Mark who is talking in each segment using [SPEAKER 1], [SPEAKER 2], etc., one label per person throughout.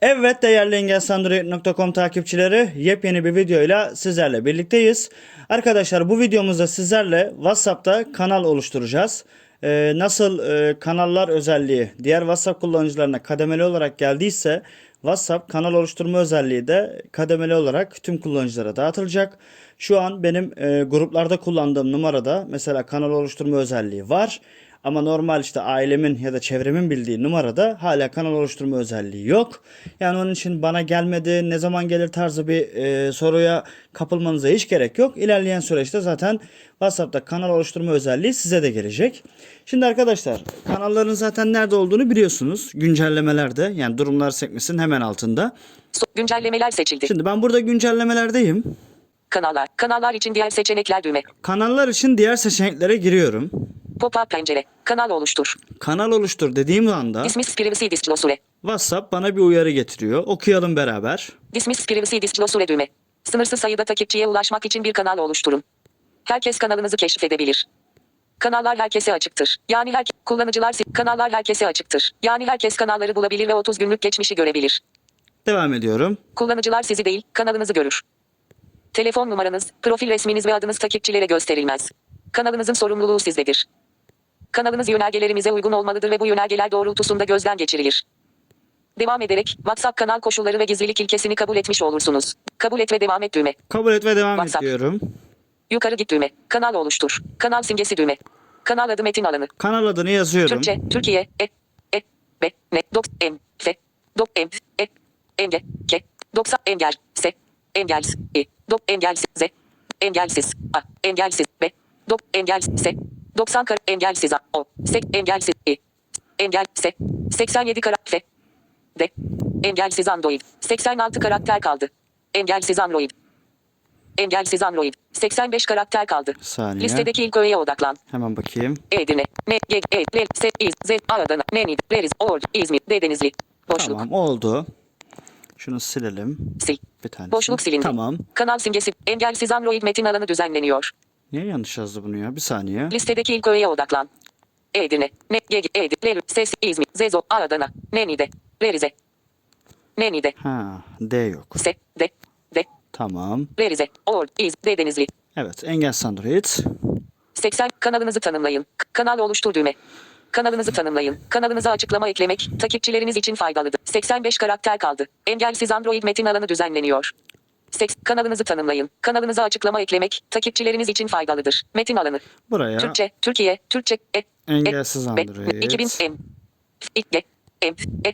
[SPEAKER 1] Evet değerli engelsandroid.com takipçileri yepyeni bir videoyla sizlerle birlikteyiz. Arkadaşlar bu videomuzda sizlerle WhatsApp'ta kanal oluşturacağız. Ee, nasıl e, kanallar özelliği diğer WhatsApp kullanıcılarına kademeli olarak geldiyse WhatsApp kanal oluşturma özelliği de kademeli olarak tüm kullanıcılara dağıtılacak. Şu an benim e, gruplarda kullandığım numarada mesela kanal oluşturma özelliği var. Ama normal işte ailemin ya da çevremin bildiği numarada hala kanal oluşturma özelliği yok. Yani onun için bana gelmedi, ne zaman gelir tarzı bir e, soruya kapılmanıza hiç gerek yok. İlerleyen süreçte zaten WhatsApp'ta kanal oluşturma özelliği size de gelecek. Şimdi arkadaşlar kanalların zaten nerede olduğunu biliyorsunuz. Güncellemelerde yani durumlar sekmesinin hemen altında.
[SPEAKER 2] So- Güncellemeler seçildi.
[SPEAKER 1] Şimdi ben burada güncellemelerdeyim.
[SPEAKER 2] Kanallar. Kanallar için diğer seçenekler düğme.
[SPEAKER 1] Kanallar için diğer seçeneklere giriyorum.
[SPEAKER 2] Pop-up pencere. Kanal oluştur.
[SPEAKER 1] Kanal oluştur dediğim anda
[SPEAKER 2] Dismiss privacy display süre.
[SPEAKER 1] WhatsApp bana bir uyarı getiriyor. Okuyalım beraber.
[SPEAKER 2] Dismiss privacy display süre düğme. Sınırsız sayıda takipçiye ulaşmak için bir kanal oluşturun. Herkes kanalınızı keşfedebilir. Kanallar herkese açıktır. Yani her kullanıcılar se- kanallar herkese açıktır. Yani herkes kanalları bulabilir ve 30 günlük geçmişi görebilir.
[SPEAKER 1] Devam ediyorum.
[SPEAKER 2] Kullanıcılar sizi değil, kanalınızı görür. Telefon numaranız, profil resminiz ve adınız takipçilere gösterilmez. Kanalınızın sorumluluğu sizdedir. Kanalınız yönergelerimize uygun olmalıdır ve bu yönergeler doğrultusunda gözden geçirilir. Devam ederek WhatsApp kanal koşulları ve gizlilik ilkesini kabul etmiş olursunuz. Kabul et ve devam et düğme.
[SPEAKER 1] Kabul et ve devam
[SPEAKER 2] WhatsApp.
[SPEAKER 1] ediyorum.
[SPEAKER 2] Yukarı git düğme. Kanal oluştur. Kanal simgesi düğme. Kanal adı metin alanı.
[SPEAKER 1] Kanal adını yazıyorum.
[SPEAKER 2] Türkçe, Türkiye, e, e, be, ne, dok, em, fe, dok, em, e, enge, ke, doksa, engel, se, engelsiz, i, E, dok, engelsiz, ze, engelsiz, a, engelsiz, be, dok, engelsiz, se, 90 kar, engelsiz, a, o, sek, engelsiz, i, engel, se, 87 kara, fe, de, engelsiz Android, 86 karakter kaldı, engelsiz Android, engelsiz Android, 85 karakter kaldı.
[SPEAKER 1] Saniye.
[SPEAKER 2] Listedeki ilk öğeye odaklan.
[SPEAKER 1] Hemen bakayım.
[SPEAKER 2] Edirne, Ne, Ge, E, Lel, Se, İz, Z, Adana, Menid, Leriz, Ordu, İzmir, Dedenizli. Boşluk,
[SPEAKER 1] Tamam oldu. Şunu silelim.
[SPEAKER 2] sil.
[SPEAKER 1] Bir tane.
[SPEAKER 2] Boşluk silindi.
[SPEAKER 1] Tamam.
[SPEAKER 2] Kanal simgesi, engelsiz Android metin alanı düzenleniyor.
[SPEAKER 1] Niye yanlış yazdı bunu ya? Bir saniye.
[SPEAKER 2] Listedeki ilk öğeye odaklan. Edirne, Ne, E, Ge, Ge, Edir, Lel, Ses, İzmir, Zezo, Adana, Menide, Lerize. Menide,
[SPEAKER 1] Ha, D yok.
[SPEAKER 2] Se, De, De,
[SPEAKER 1] Tamam.
[SPEAKER 2] Lerize, Ordu, İz, Dedenizli.
[SPEAKER 1] Evet, engel Android.
[SPEAKER 2] 80 kanalınızı tanımlayın. K- Kanal oluştur düğme. Kanalınızı tanımlayın. Kanalınıza açıklama eklemek takipçileriniz için faydalıdır. 85 karakter kaldı. Engelsiz Android metin alanı düzenleniyor. Seks kanalınızı tanımlayın. Kanalınıza açıklama eklemek takipçileriniz için faydalıdır. Metin alanı.
[SPEAKER 1] Buraya
[SPEAKER 2] Türkçe, Türkiye, Türkçe. E, e,
[SPEAKER 1] Engelsiz
[SPEAKER 2] be-
[SPEAKER 1] Android.
[SPEAKER 2] 2000 em. İkke, em, e,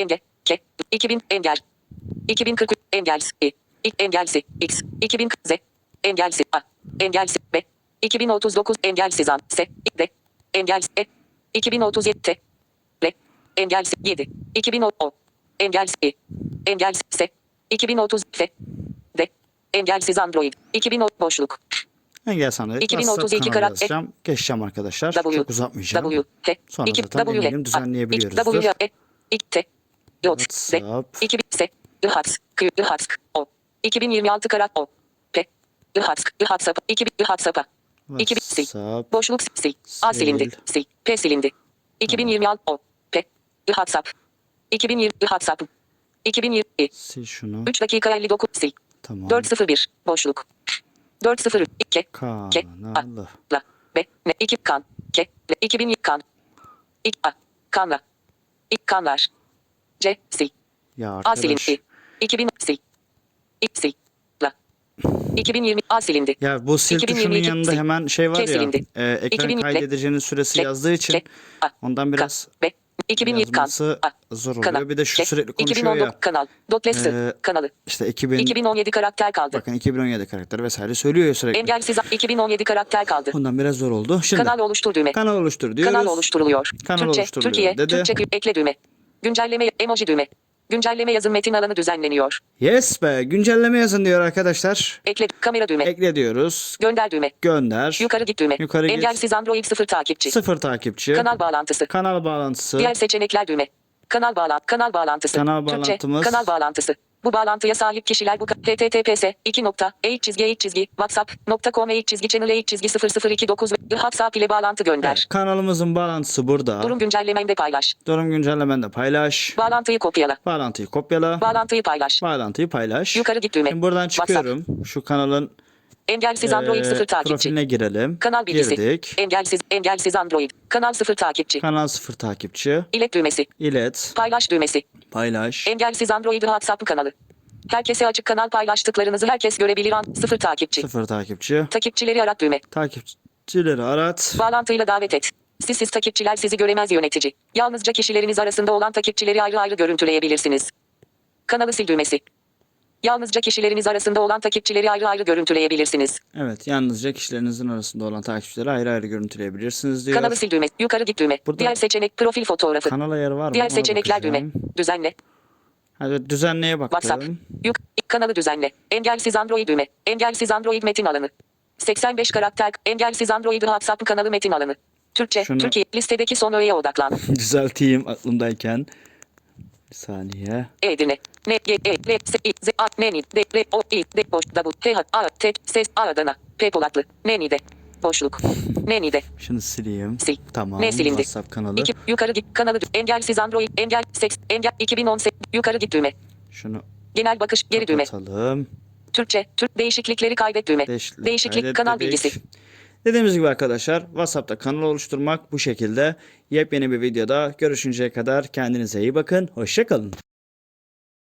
[SPEAKER 2] enge, ke, 2000 engel. 2040 engelsi. i, ik- engelsi. E, X. 2000 z. Engelsi. A. Engelsi. B. 2039 engelsiz an. S. D. Engelsi. E. 2037 T. L. Engelsi. 7. 2010 O. Engelsi. i, Engelsi. S. 2030 F. D. Engelsiz Android. 2010 boşluk.
[SPEAKER 1] engel Android.
[SPEAKER 2] 2032
[SPEAKER 1] WhatsApp
[SPEAKER 2] karar-
[SPEAKER 1] kanalı yazacağım. Geçeceğim arkadaşlar.
[SPEAKER 2] W,
[SPEAKER 1] Çok uzatmayacağım.
[SPEAKER 2] W, H,
[SPEAKER 1] Sonra
[SPEAKER 2] iki,
[SPEAKER 1] zaten
[SPEAKER 2] W, H,
[SPEAKER 1] eminim
[SPEAKER 2] A,
[SPEAKER 1] düzenleyebiliyoruzdur.
[SPEAKER 2] iki, W, H, iki, T, Dot, D,
[SPEAKER 1] WhatsApp.
[SPEAKER 2] 2000 S, Duhatsk, Q, Duhatsk, O, 2026 karat O, P, Duhatsk, Duhatskapa, 2000 Duhatskapa, 2000 sil,
[SPEAKER 1] WhatsApp.
[SPEAKER 2] boşluk sil, A
[SPEAKER 1] Sil.
[SPEAKER 2] silindi, sil, P silindi, 2026 O, P, Duhatskap, 2020 Duhatskap, 2020,
[SPEAKER 1] Sil şunu.
[SPEAKER 2] 3 E. dakika 59 sil,
[SPEAKER 1] Tamam.
[SPEAKER 2] 401 boşluk, 402 2, K, A,
[SPEAKER 1] Kanalı.
[SPEAKER 2] La. Be. Ne. iki kan. Ke. Le. 2000 kan. İk. A. Kanla. İk kanlar. C. Sil.
[SPEAKER 1] Ya
[SPEAKER 2] A silindi.
[SPEAKER 1] arkadaş.
[SPEAKER 2] 2000 sil. İk sil. La. 2020 A silindi.
[SPEAKER 1] Ya bu sil tuşunun
[SPEAKER 2] 2022
[SPEAKER 1] yanında
[SPEAKER 2] sil.
[SPEAKER 1] hemen şey var ya.
[SPEAKER 2] Kesilindi.
[SPEAKER 1] e, ekran
[SPEAKER 2] 2022
[SPEAKER 1] kaydedicinin süresi
[SPEAKER 2] Ke-
[SPEAKER 1] yazdığı için
[SPEAKER 2] Ke- A.
[SPEAKER 1] ondan biraz
[SPEAKER 2] Ka. Be. 2020 kan.
[SPEAKER 1] yazması zor oluyor. Bir de şu
[SPEAKER 2] Ke.
[SPEAKER 1] sürekli konuşuyor
[SPEAKER 2] 2019
[SPEAKER 1] ya.
[SPEAKER 2] kanal. Dotlesi.
[SPEAKER 1] Ee,
[SPEAKER 2] kanalı.
[SPEAKER 1] işte 2000
[SPEAKER 2] 2017 karakter kaldı.
[SPEAKER 1] bakın 2017 karakter vesaire söylüyor ya sürekli.
[SPEAKER 2] Engelsiz 2017 karakter kaldı.
[SPEAKER 1] Ondan biraz zor oldu. Şimdi
[SPEAKER 2] Kanal
[SPEAKER 1] kanal,
[SPEAKER 2] oluştur düğme.
[SPEAKER 1] oluştur diyoruz.
[SPEAKER 2] Kanal oluşturuluyor.
[SPEAKER 1] Ee, Kanal
[SPEAKER 2] Türkçe,
[SPEAKER 1] oluşturuluyor
[SPEAKER 2] Türkiye,
[SPEAKER 1] dedi.
[SPEAKER 2] Türkçe ekle düğme. Güncelleme emoji düğme. Güncelleme yazın metin alanı düzenleniyor.
[SPEAKER 1] Yes be güncelleme yazın diyor arkadaşlar.
[SPEAKER 2] Ekle kamera düğme.
[SPEAKER 1] Ekle diyoruz.
[SPEAKER 2] Gönder düğme.
[SPEAKER 1] Gönder.
[SPEAKER 2] Yukarı git düğme.
[SPEAKER 1] Yukarı git.
[SPEAKER 2] Engelsiz Android sıfır takipçi.
[SPEAKER 1] Sıfır takipçi.
[SPEAKER 2] Kanal bağlantısı.
[SPEAKER 1] Kanal bağlantısı.
[SPEAKER 2] Diğer seçenekler düğme. Kanal bağlan. Kanal bağlantısı.
[SPEAKER 1] Kanal
[SPEAKER 2] Türkçe.
[SPEAKER 1] bağlantımız.
[SPEAKER 2] Kanal bağlantısı. Bu bağlantıya sahip kişiler bu https 2 nokta eğik çizgi eğik çizgi whatsapp.com eğik çizgi channel eğik çizgi 0029 ve whatsapp ile bağlantı
[SPEAKER 1] Evet,
[SPEAKER 2] gönder.
[SPEAKER 1] kanalımızın bağlantısı burada.
[SPEAKER 2] Durum güncellemende paylaş.
[SPEAKER 1] Durum güncellemen de paylaş.
[SPEAKER 2] Bağlantıyı kopyala.
[SPEAKER 1] Bağlantıyı kopyala.
[SPEAKER 2] Bağlantıyı paylaş.
[SPEAKER 1] Bağlantıyı paylaş.
[SPEAKER 2] Yukarı git düğme.
[SPEAKER 1] Şimdi buradan
[SPEAKER 2] WhatsApp.
[SPEAKER 1] çıkıyorum. Şu kanalın
[SPEAKER 2] Engelsiz
[SPEAKER 1] eee,
[SPEAKER 2] Android 0 takipçi.
[SPEAKER 1] Ee, profiline girelim.
[SPEAKER 2] Kanal E- bilgisi.
[SPEAKER 1] Girdik.
[SPEAKER 2] Engelsiz engelsiz Android. Kanal 0 takipçi.
[SPEAKER 1] Kanal sıfır takipçi.
[SPEAKER 2] İlet düğmesi.
[SPEAKER 1] İlet.
[SPEAKER 2] Paylaş düğmesi.
[SPEAKER 1] Paylaş.
[SPEAKER 2] Engelsiz Android WhatsApp kanalı. Herkese açık kanal paylaştıklarınızı herkes görebilir. An- sıfır takipçi.
[SPEAKER 1] Sıfır takipçi.
[SPEAKER 2] Takipçileri arat düğme.
[SPEAKER 1] Takipçileri arat.
[SPEAKER 2] Bağlantıyla davet et. Sizsiz takipçiler sizi göremez yönetici. Yalnızca kişileriniz arasında olan takipçileri ayrı ayrı görüntüleyebilirsiniz. Kanalı sil düğmesi. Yalnızca kişileriniz arasında olan takipçileri ayrı ayrı görüntüleyebilirsiniz.
[SPEAKER 1] Evet yalnızca kişilerinizin arasında olan takipçileri ayrı ayrı görüntüleyebilirsiniz diyor.
[SPEAKER 2] Kanalı sil düğmesi. Yukarı git düğme.
[SPEAKER 1] Burada-
[SPEAKER 2] Diğer seçenek profil fotoğrafı.
[SPEAKER 1] Kanal ayarı var mı?
[SPEAKER 2] Diğer
[SPEAKER 1] Ona
[SPEAKER 2] seçenekler düğme.
[SPEAKER 1] bakacağım.
[SPEAKER 2] Düzenle.
[SPEAKER 1] Hadi düzenleye bakalım.
[SPEAKER 2] WhatsApp. Yük kanalı düzenle. Engelsiz Android düğme. Engelsiz Android metin alanı. 85 karakter. Engelsiz Android WhatsApp kanalı metin alanı. Türkçe,
[SPEAKER 1] Şunu-
[SPEAKER 2] Türkiye listedeki son öğeye odaklan.
[SPEAKER 1] Düzelteyim aklımdayken. Bir saniye.
[SPEAKER 2] Edirne. Ne ye e le se i z a neni de re o i de boş da bu t h a t ses a adana p polatlı neni de boşluk neni de
[SPEAKER 1] Şunu sileyim.
[SPEAKER 2] sil
[SPEAKER 1] Tamam.
[SPEAKER 2] ne silindi
[SPEAKER 1] WhatsApp kanalı.
[SPEAKER 2] İki, yukarı git kanalı dü- engelsiz android engel seks engel 2018 yukarı git düğme
[SPEAKER 1] Şunu
[SPEAKER 2] genel bakış geri düğme
[SPEAKER 1] kapatalım.
[SPEAKER 2] Türkçe Türk değişiklikleri kaydet düğme
[SPEAKER 1] Değişiklik,
[SPEAKER 2] değişiklik
[SPEAKER 1] kaydet
[SPEAKER 2] kanal
[SPEAKER 1] dedik.
[SPEAKER 2] bilgisi
[SPEAKER 1] Dediğimiz gibi arkadaşlar WhatsApp'ta kanal oluşturmak bu şekilde. Yepyeni bir videoda görüşünceye kadar kendinize iyi bakın. Hoşçakalın.